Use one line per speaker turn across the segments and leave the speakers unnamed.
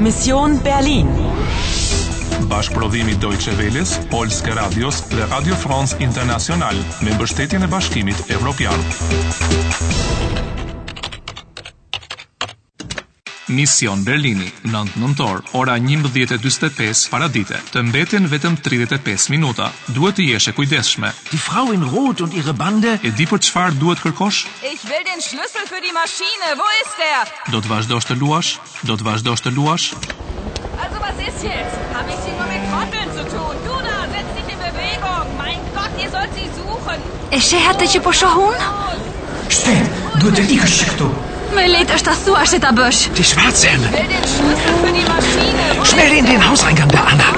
Mission Berlin.
Bashkëprodhimi Deutsche Welles, Polske Radios dhe Radio France International me mbështetjen e Bashkimit Evropian. Mision Berlini, 9 nëntor, ora 11:45 paradite. Të mbeten vetëm 35 minuta. Duhet të jesh e kujdesshme.
Die Frau in Rot und ihre Bande?
E di për çfarë duhet kërkosh?
Ich will den Schlüssel für die Maschine. Wo ist er?
Do të vazhdosh të luash? Do të vazhdosh të luash?
Also was ist jetzt? Habe ich hier nur mit Trotteln zu tun? Du da, setz dich in Bewegung. Mein Gott, ihr sollt sie suchen.
E sheh atë që po shoh unë?
Stet, duhet të ikësh këtu.
Më lehtë është ta thuash se ta bësh.
Die Schwarzhelme.
Will den Schlüssel für die Maschine. Wo ist
Schnell in den Hauseingang der Anna.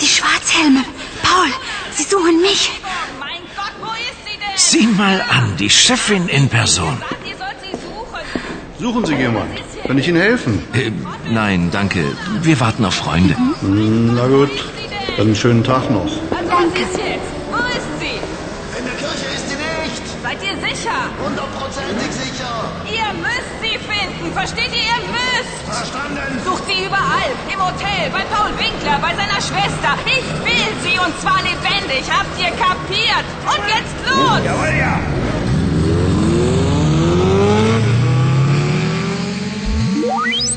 Ti Schwarzhelme, Paul, sie suchen mich.
mein Gott, wo ist sie denn?
Sieh mal an, die Chefin in Person.
Sagt, ihr sollt sie suchen.
Suchen Sie jemanden. Kann ich Ihnen helfen?
Äh, nein, danke. Wir warten auf Freunde.
Hm,
Na gut, dann einen schönen Tag noch.
Also was ist jetzt? Wo ist sie?
In der Kirche ist sie nicht!
Seid ihr sicher?
Hundertprozentig sicher!
Ihr müsst sie finden. Versteht ihr? Ihr müsst.
Verstanden!
Sucht sie überall. Im Hotel, bei Paul Winkler, bei seiner Schwester. Ich will sie und zwar lebendig. Habt ihr kapiert? Und jetzt los!
Jawohl, ja!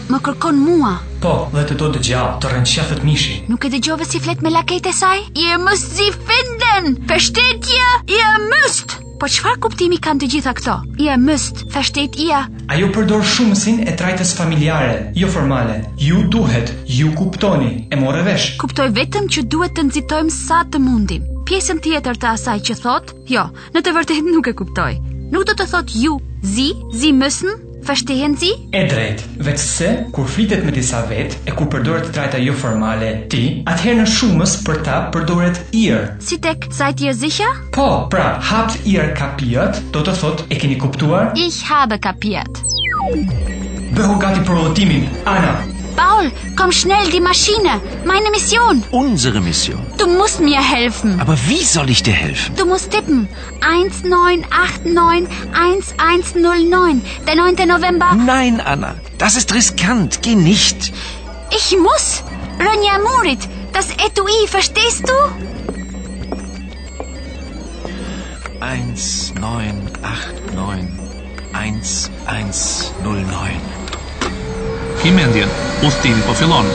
Më kërkon mua.
Po, dhe të do të gjallë, të rënqafët mishi.
Nuk e dëgjove si flet me lakejt e saj? Ihr müsst sie finden. Versteht ihr? Ihr müsst. Po çfarë kuptimi kanë të gjitha këto? Ihr müsst, versteht ihr?
Ajo përdor shumësin e trajtës familjare, jo formale. Ju duhet, ju kuptoni, e more vesh.
Kuptoj vetëm që duhet të nxitojmë sa të mundim. Pjesën tjetër të asaj që thot, jo, në të vërtetë nuk e kuptoj. Nuk do të thot ju, zi, zi mësën, verstehen zi?
E drejt, veç se, kur flitet me disa vetë, e kur përdoret trajta jo formale, ti, atëherë në shumës për ta përdoret ir.
Si tek, seid ihr sicher?
Po, pra, hapt ir kapiat, do të thot, e keni kuptuar?
Ich habe kapiert.
Bëhu gati për udhëtimin, Ana.
Paul, komm schnell die Maschine, meine Mission.
Unsere Mission.
Du musst mir helfen.
Aber wie soll ich dir helfen?
Du musst tippen. 1989-1109, der 9. November.
Nein, Anna. Das ist riskant. Geh nicht.
Ich muss. Ronja Murit, das Etui, verstehst du?
1, 9, 8, 9. 1, 1, 0, 9.
Ki mendjen, udhtimi po fillon.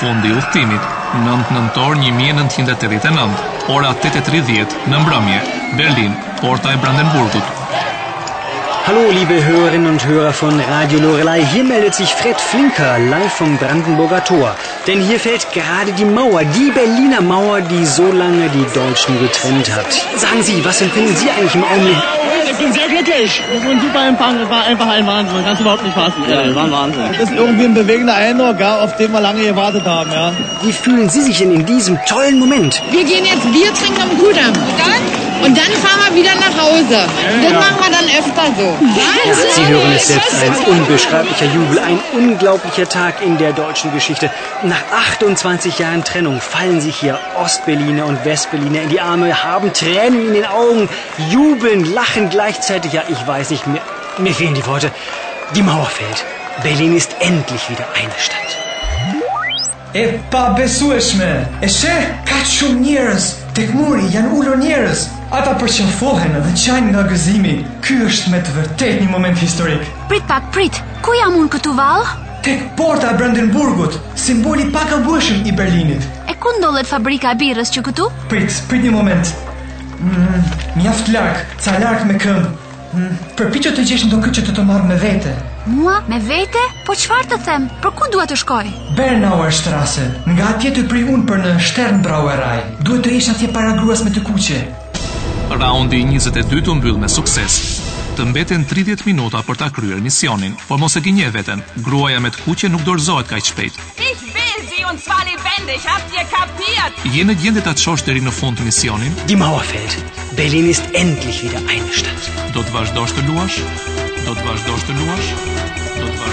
Fundi i udhëtimit, 9 nëntor 1989, ora 8:30 në mbrëmje, Berlin, Porta e Brandenburgut.
Hallo, liebe Hörerinnen und Hörer von Radio Lorelei. Hier meldet sich Fred Flinker live vom Brandenburger Tor. Denn hier fällt gerade die Mauer, die Berliner Mauer, die so lange die Deutschen getrennt hat. Sagen Sie, was empfinden Sie eigentlich im Augenblick?
Ich bin sehr glücklich. Das war ein super Empfang. Das war einfach ein Wahnsinn. Man kann es überhaupt nicht fassen. Ja, war ein Wahnsinn. Das ist irgendwie ein bewegender Eindruck, ja, auf den wir lange gewartet haben, ja.
Wie fühlen Sie sich denn in diesem tollen Moment?
Wir gehen jetzt Bier trinken am Kudamm. Dann? Und dann fahren wir wieder nach Hause. das machen wir dann öfter so.
Sie hören es selbst, ein unbeschreiblicher Jubel, ein unglaublicher Tag in der deutschen Geschichte. Nach 28 Jahren Trennung fallen sich hier Ostberliner und Westberliner in die Arme, haben Tränen in den Augen, jubeln, lachen gleichzeitig. Ja, ich weiß nicht, mir, mir fehlen die Worte. Die Mauer fällt. Berlin ist endlich wieder eine Stadt.
E pa besueshme. E sheh, ka shumë njerëz tek muri janë ulur njerëz. Ata përqëfohen dhe qajnë nga gëzimi. Ky është me të vërtet një moment historik.
Prit pak, prit. Ku jam unë këtu val?
Tek porta e Brandenburgut, simboli pakabueshëm i Berlinit.
E ku ndodhet fabrika e birrës që këtu?
Prit, prit një moment. Mm, mjaft larg, ca larg me këmbë. Mm, përpiqet të gjesh ndonjë që të të marr me vete.
Mua, me vete? Po çfarë të them? Për ku dua të shkoj?
Bernauer Strasse, nga atje të pri unë për në Sternbrauerei. Duhet të ish atje para gruas me të kuqe.
Raundi 22 u mbyll me sukses. Të mbeten 30 minuta për ta kryer misionin, por mos e gënje veten. Gruaja me të kuqe nuk dorëzohet kaq shpejt.
Ich will sie und zwar lebendig. Habt ihr kapiert?
Je në gjendje ta çosh deri në fund misionin?
Die Mauer fällt. Berlin ist endlich wieder eine Stadt.
Do të vazhdosh të luash? Do të vazhdosh të luash? Do të vazhdosh